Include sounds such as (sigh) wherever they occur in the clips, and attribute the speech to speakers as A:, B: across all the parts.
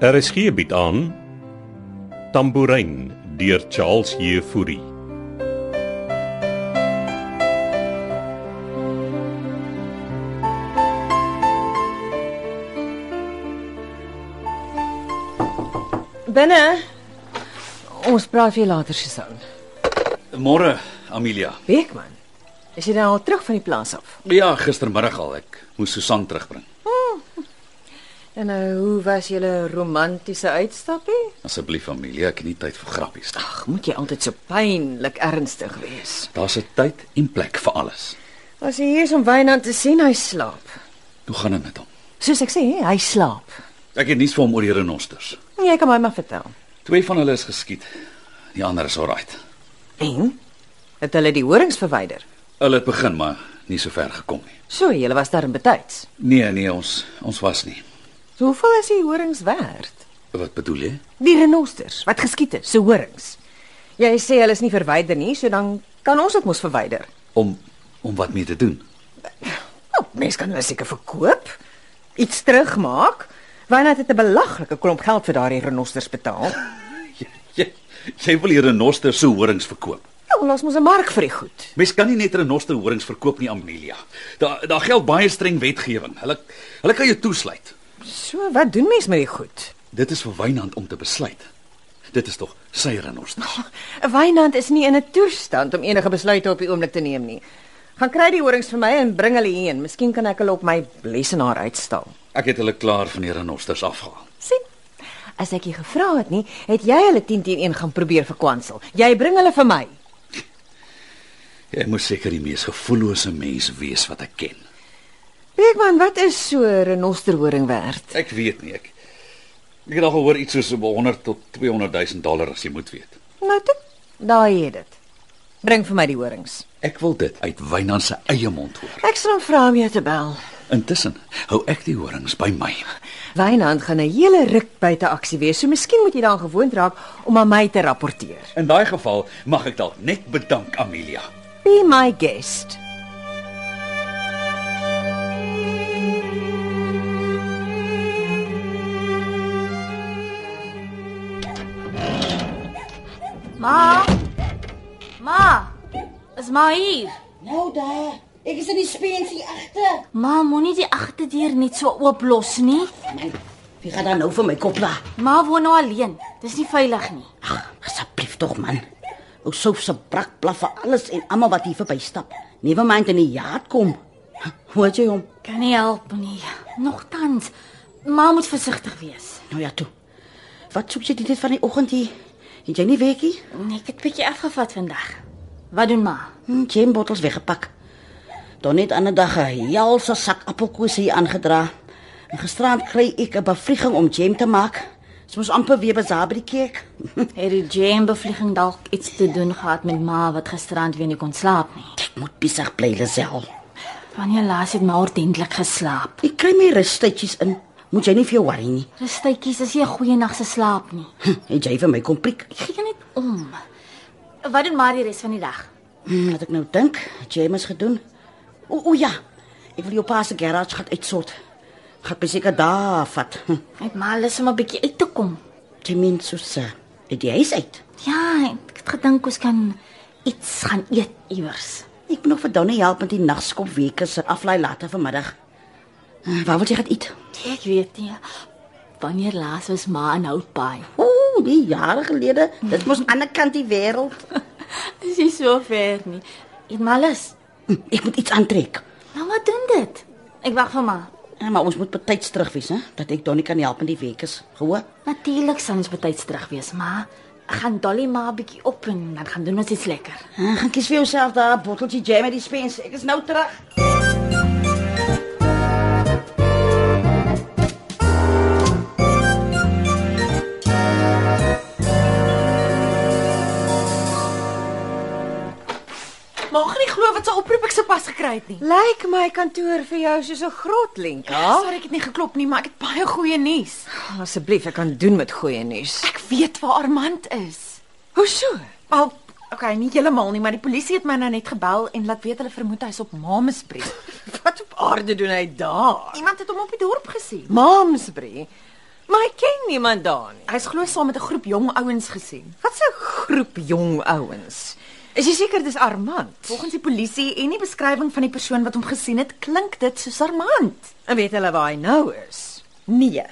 A: RSG bied Er aan Tambourin deur Charles Jefouri.
B: Binne. Ons praat weer later, Susan.
C: Môre, Amelia.
B: Beekman. Is jy nou al terug van die plaas af?
C: Ja, gistermiddag al ek moes Susan terugbring.
B: En nou, hoe was julle romantiese uitstappie?
C: Asseblief, Amelia, ek het nie tyd vir grappies nie.
B: Ag, moet jy altyd so pynlik ernstig wees?
C: Daar's 'n tyd en plek vir alles.
B: As jy hier is om Wynand te sien, hy slaap.
C: Hoe gaan dit met hom?
B: Soos ek sê, hy slaap.
C: Ek het nuus vir hom oor die renosters.
B: Jy kan my maar vertel.
C: Twee van hulle is geskiet. Die ander is alright.
B: En het hulle die horings verwyder?
C: Hulle het begin maar nie so ver gekom nie.
B: So, julle was daar in betyds.
C: Nee, nee, ons ons was nie.
B: So, hoeveel is die horings werd?
C: Wat bedoel jy?
B: Die renosters wat geskiet is, se horings. Jy sê hulle is nie verwyder nie, so dan kan ons dit mos verwyder.
C: Om om wat mee te doen?
B: Oh, mens kan hulle seker verkoop, iets terugmaak. Wynand het 'n belaglike klomp geld vir daardie renosters betaal.
C: Jy jy, jy wil die renosters se horings verkoop.
B: Ja, ons moet 'n mark vir die goed.
C: Mens kan nie net renosterhorings verkoop nie, Amelia. Daar daar geld baie streng wetgewing. Hulle hulle kan jou toesluit.
B: So, wat doen mens met die goed?
C: Dit is vir Wynand om te besluit. Dit is tog sy renosters.
B: 'n Wynand is nie in 'n toestand om enige besluite op die oomblik te neem nie. Gaan kry die horings vir my en bring hulle hierheen. Miskien kan ek hulle op my lesenaar uitstal.
C: Ek het hulle klaar van die renosters afgehaal.
B: sien? As ek jy gevra het nie, het jy hulle 10 teen 1 gaan probeer verkwansel. Jy bring hulle vir my.
C: Jy moet seker die mees gevoellose mens wees wat ek ken.
B: Beekman, wat is so 'n renosterhoring werd?
C: Ek weet nie ek. Ek het al gehoor iets soos 100 tot 200 000 dollar as jy moet weet.
B: Nou toe, daar het dit. Bring vir my die horings.
C: Ek wil dit uit Wynand se eie mond hoor.
B: Ek sal hom vra om jou te bel.
C: Intussen hou ek die horings by my.
B: Wynand gaan 'n hele ruk buite aksie wees, so miskien moet jy daaraan gewoond raak om aan my te rapporteer.
C: In daai geval mag ek dalk net bedank, Amelia.
B: Be my guest.
D: Ma. Ma. Is maar hier.
E: Nou daar. Ek is in die spensie agter.
D: Ma, moenie die agterdeur net so oop los nie.
E: Man, wie gaan dan nou vir my kop la?
D: Ma woon nou alleen. Dis nie veilig nie.
E: Ag, asseblief tog man. Ou sof se brak blaf vir alles en almal wat hier verby stap. Never mind in die jaat kom. Hoor jy hom?
D: Kan nie help nie. Nogtans, ma moet versigtig wees.
E: Nou ja toe. Wat soek jy dit van die oggend hier? Het jy nie weekie?
D: Nee, Ek het bietjie afgevat vandag. Wat doen ma?
E: Hm, Jam bottels weggepak. Dan net ander dag 'n helse sak appelkoes hier aangedra. En gisterand kry ek 'n bevlieging om jam te maak. Ons moes amper weer besaar by die kerk.
D: (laughs) Het die jam bevlieging dalk iets te doen gehad met ma wat gisterand weer nie kon slaap nie?
E: Ek moet besig bly lesel.
D: Wanneer laas het ma ordentlik geslaap?
E: Ek kry my rustydjies in. Moet jy nie vir jou worry nie.
D: Rustytjies, is nie 'n goeie nag se slaap nie.
E: Hm, Het jy vir my kom prik?
D: Gee net om. Wat doen ma die res van die dag?
E: Hm, Laat ek nou dink, het jy mos gedoen? O, o ja. Ek wil jou pa se garage gaan uitsort. Gaan beseker daar vat. Hm,
D: Ek maar lus om 'n bietjie uit te kom.
E: Jy meen soos uh, uit die huis uit.
D: Ja, ek het gedink ons kan iets gaan eet iewers.
E: Ek moet nog vir Donnie help met die nagskop weke se aflaai later vanmiddag. Hm, Waar wil jy gaan eet?
D: Nee, Ek weet nie. Wanneer laas was ma in Houtbaai?
E: O, die jare gelede. Dit mos aan die ander kant die wêreld.
D: Dis nie so ver nie. Eet maar lus.
E: Hm, Ek moet iets aantrek.
D: Nou wat doen dit? Ek wag vir ma.
E: Ja, maar ons moet betyds terug wees, hè, dat ek Donnie kan help met die weke se. Gehoor?
D: Natuurlik sal ons betyds terug wees, ma. Ek gaan Dolly maar 'n bietjie op en dan gaan doen ons iets lekker.
E: Ah, gaan kies vir jouself daar 'n botteltjie jam uit die spens. Ek is nou terug.
F: Mag nie glo wat se oproep ek sopas gekry het nie.
B: Lyk my kantoor vir jou soos 'n grotlenk.
D: Ja?
F: Sorry ek het nie geklop nie, maar ek het baie goeie nuus.
B: Ah, Asseblief, ek kan doen met goeie nuus.
F: Ek weet waar Armand is.
B: Hoe so?
F: Wel, okay, nie heeltemal nie, maar die polisie het my nou net gebel en laat weet hulle vermoed hy's op Mamesbrie. (laughs)
B: Wat op aarde doen hy daar?
F: Iemand het hom op die dorp gesien.
B: Mamsbury. Maar ek ken niemand daar nie.
F: Hy's glo saam met 'n groep jong ouens gesien.
B: Wat 'n groep jong ouens. Is jy seker dis Armand?
F: Volgens die polisie en die beskrywing van die persoon wat hom gesien het, klink dit soos Hm, Armand.
B: En weet hulle waar hy nou is?
F: Nee.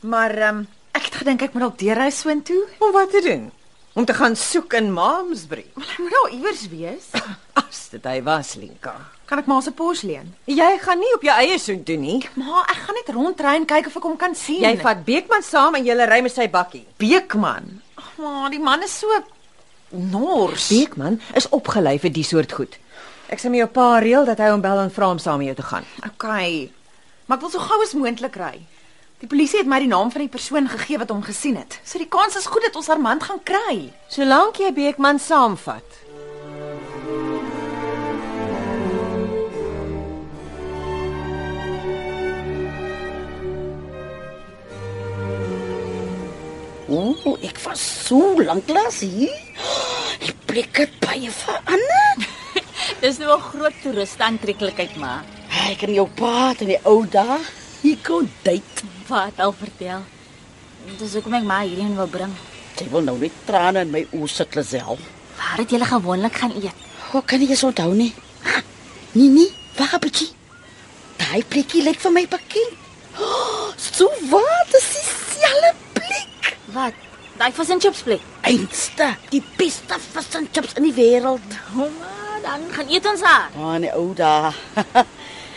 F: Maar ehm um, ek het gedink ek moet dalk deurry soontoe.
B: Om wat te doen? Om te gaan soek in
F: (laughs)
B: Maamsbury.
F: Maar hy moet daar iewers wees.
B: As dit hy was, Linka.
F: Kan ek maar se pos leen?
B: Jy gaan nie op jou eie soek doen nie.
F: Maar ek gaan net rondry en kyk of ek hom kan sien.
B: Jy vat Beekman saam en jy ry met sy bakkie.
F: Beekman. Ag maar, die man is so nors.
B: Beekman is opgelei vir die soort goed. Ek sê my jou pa reël dat hy hom bel en vra om saam met jou te gaan.
F: Okay. Maar ek wil so gou as moontlik ry. Die polisie het my die naam van die persoon gegee wat hom gesien het. So die kans is goed dat ons Armand gaan kry.
B: Solank jy Beekman saamvat.
E: Ooh, ek was so lank lank hier. Die plek het baie verander.
D: Dis nou 'n groot toeriste aantreklikheid maar.
E: Ek en jou pa het in die ou dae hier kon date.
D: Wat al vertel. Dis hoekom ek maar hierheen wil bring.
E: Jy wil nou net trane in my oë sit lesel.
D: Waar het julle gewoonlik gaan eet?
E: Hoe kan jy so onthou nie? Ha, Nee nee, wag 'n bietjie. Daai plekkie lyk vir my bekend. Oh, so wat? Dis dieselfde plek.
D: Wat? Daai vis en chips plek.
E: Einste, die beste vis en chips in die wêreld.
D: Oh man, dan gaan eet ons daar.
E: Ah, nee, ou da. (laughs)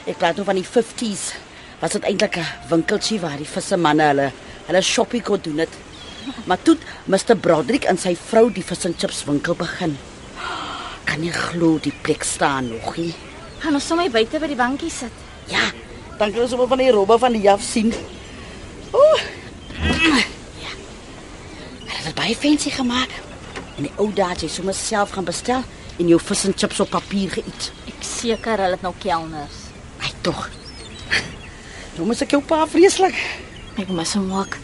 E: Ek praat nou van die 50s. Was dit eintlik 'n winkeltjie waar die visse manne hulle hulle shoppie kon doen het. Maar toe het Mr Broderick en sy vrou die vis en chips winkel begin. Kan nie glo die plek staan nog nie.
D: Gaan ons sommer buite by die bankie sit.
E: Ja, dan kan ons sommer van die robbe van die jaf sien. Ooh. Ja. Hulle het baie fancy gemaak. En die ou daad jy sommer self gaan bestel en jou vis en chips op papier geëet.
D: Ek seker hulle het nou kelners.
E: Ai tog. Nou moet ek jou pa vreeslik.
D: Ek mis hom ook.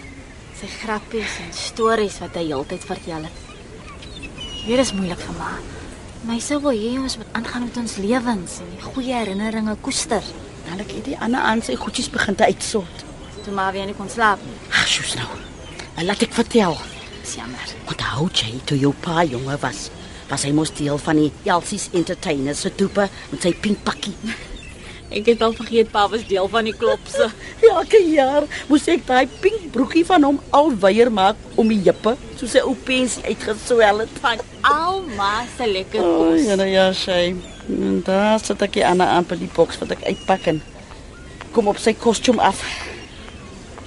D: Sy grappies en stories wat hy heeltyd vertel het. Hier is moeilik vir my. My sou wil hê ons moet aangaan met ons lewens en die goeie herinneringe koester.
E: Dan ek hierdie ander aan sy goedjies begin te uitsort.
D: Toe maar weer nie kon slaap nie.
E: Ag, sjoes nou. Maar laat ek vertel.
D: Dis jammer.
E: Onthou jy toe jou pa jonger was, was hy mos deel van die Elsie's Entertainers se toepe met sy pink pakkie.
D: Ek het al vergeet pa was deel van die (laughs) klopse.
E: Elke jaar moes ek daai pink broekie van hom al weier maak om die heupe, soos sy ou pensie uitgeswel het.
D: van almal se lekker
E: O,
D: kos.
E: ja, nou ja, shame. En daar sit ek die ander aan by die boks wat ek uitpak en kom op sy kostuum af.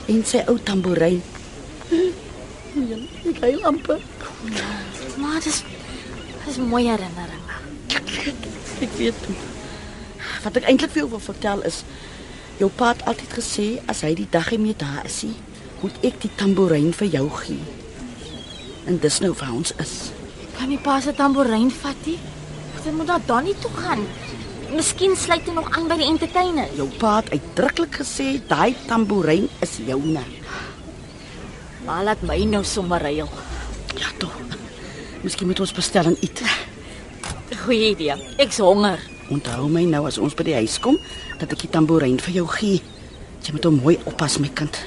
E: En sy ou tamboerijn. Ja, ek hy amper.
D: Maar dis dis mooi herinneringe.
E: Ek weet toe. Wat ek eintlik vir jou wil vertel is jou pa het altyd gesê as hy die dag nie meer daar is nie, moet ek die tamboerijn vir jou gee. En dis nou vir ons is.
D: Kan nie pa se tamboerijn vat nie. Dit moet daar dan nie toe gaan. Miskien sluit hy nog aan by die entertainer.
E: Jou pa het uitdruklik gesê daai tamboerijn is joune.
D: Maar laat my nou sommer reël.
E: Ja tog. Miskien moet ons bestel en eet.
D: Goeie idee. Ek's honger.
E: Onthou my nou as ons by die huis kom dat ek die tamboerijn vir jou gee. Jy moet hom mooi oppas my kind.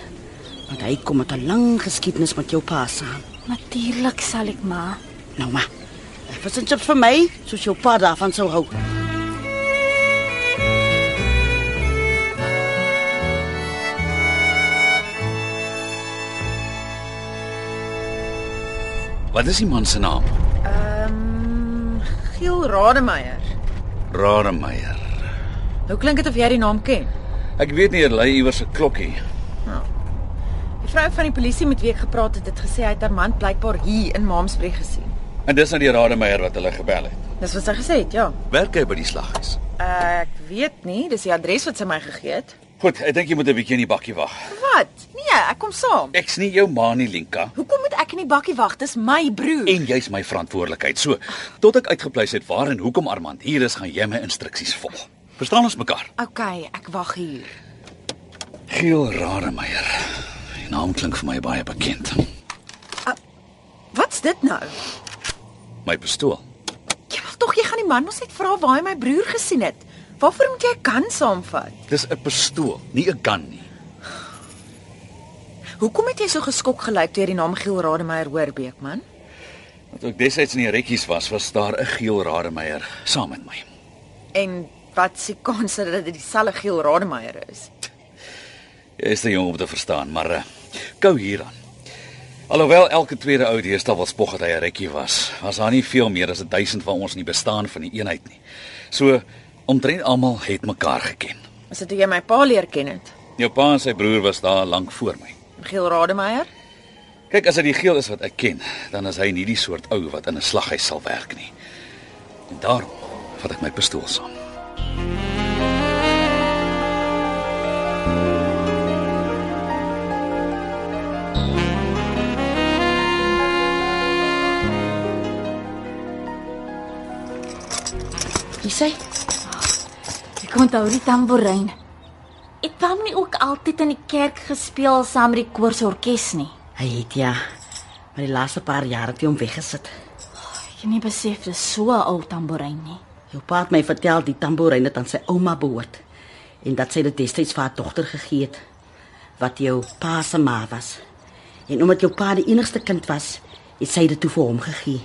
E: Want hy kom met 'n lang geskiedenis met jou pa saam.
D: Natuurlik sal ek maar.
E: Nou maar. Wat is dit vir my? Soos jou pa daarvan sou hou.
C: Wat is die man se naam?
B: Hm,
F: Giel Rademeier.
C: Rademeier.
F: Hoe Nou klink dit of jy die naam ken?
C: Ek weet nie, hy lei iewers 'n klokkie.
F: Die vrou van die polisie met wie ek gepraat het, het gesê hy het Armand blykbaar hier in Maamsbury gesien.
C: En dis nou die Rademeier wat hulle gebel het.
F: Dis wat sy gesê het, ja.
C: Werk hy by die slaghuis?
F: Eh, Ek weet nie, dis die adres wat sy my gegee het.
C: Goed, ek dink jy moet 'n bietjie in die bakkie wag.
F: Wat? Nee, ek kom saam.
C: Ek's nie jou ma nie, Linka,
F: Hoekom moet ek in die bakkie wag? Dis my broer.
C: en jy's my verantwoordelikheid. So, tot ek uitgepleis het waar en hoekom Armand hier is, gaan jy my instruksies volg. Verstaan ons mekaar?
F: Okay, ek wag hier.
C: Giel Rademeier. Die naam klink vir my baie bekend.
F: Wat's dit nou?
C: My pistool.
F: Jy wil tog jy gaan die man mos net vra waar hy my broer gesien het. Waarvoor moet jy 'n kan saamvat?
C: Dis 'n pistool, nie 'n gun nie.
F: Hoekom het jy so geskok gelyk toe jy die naam Giel Rademeier hoor, Beekman?
C: Toe ek destyds in die rekkies was, was daar 'n geel rademeier saam met my.
F: En wat se kans dat dit dieselfde Giel Rademeier is?
C: Jy is te jong om te verstaan, maar uh, kou hieraan. Alhoewel elke tweede ou deesdae wat spog dat hy 'n rekkie was, was daar nie veel meer as 1000 van ons in die bestaan van die eenheid nie. So omtrent almal het mekaar geken.
F: Is dit hoe jy my pa leer ken het?
C: Jou pa en sy broer was daar lank voor my.
F: Giel Rademeier?
C: Kyk, as dit die geel is wat ek ken, dan is hy nie die soort ou wat in 'n slaghuis sal werk nie. En daarom vat ek my pistool saam.
E: Hier sê,
D: Ek onthou die tamboerijn. Het Pam nie ook altyd in die kerk gespeel saam met die koorsorkes nie?
E: hy het ja, maar die laaste paar jaar het hy hom weggesit.
D: Ek het nie besef dis so 'n ou tamboerijn nie.
E: Jou pa het my vertel die tamboerijn het aan sy ouma behoort en dat sy dit destyds vir haar dogter gegee het wat jou pa se ma was. En omdat jou pa die enigste kind was, het sy dit toe vir hom gegee.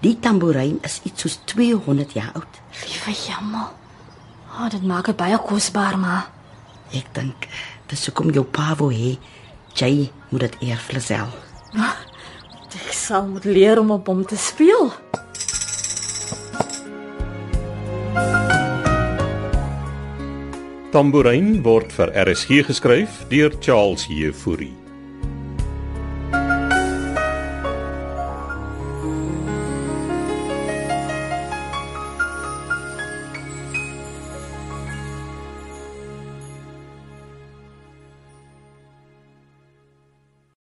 E: Die tamboerijn is iets soos 200 jaar oud.
D: Liewe jammer. Ah, oh, dit maak dit baie kosbaar, maar
E: Ek dink dis hoekom jou pa wou hê jy moet dit eer vir self.
D: ek sal moet leer om op hom te speel.
A: Tambourin word vir RSG geskryf deur Charles Heffury.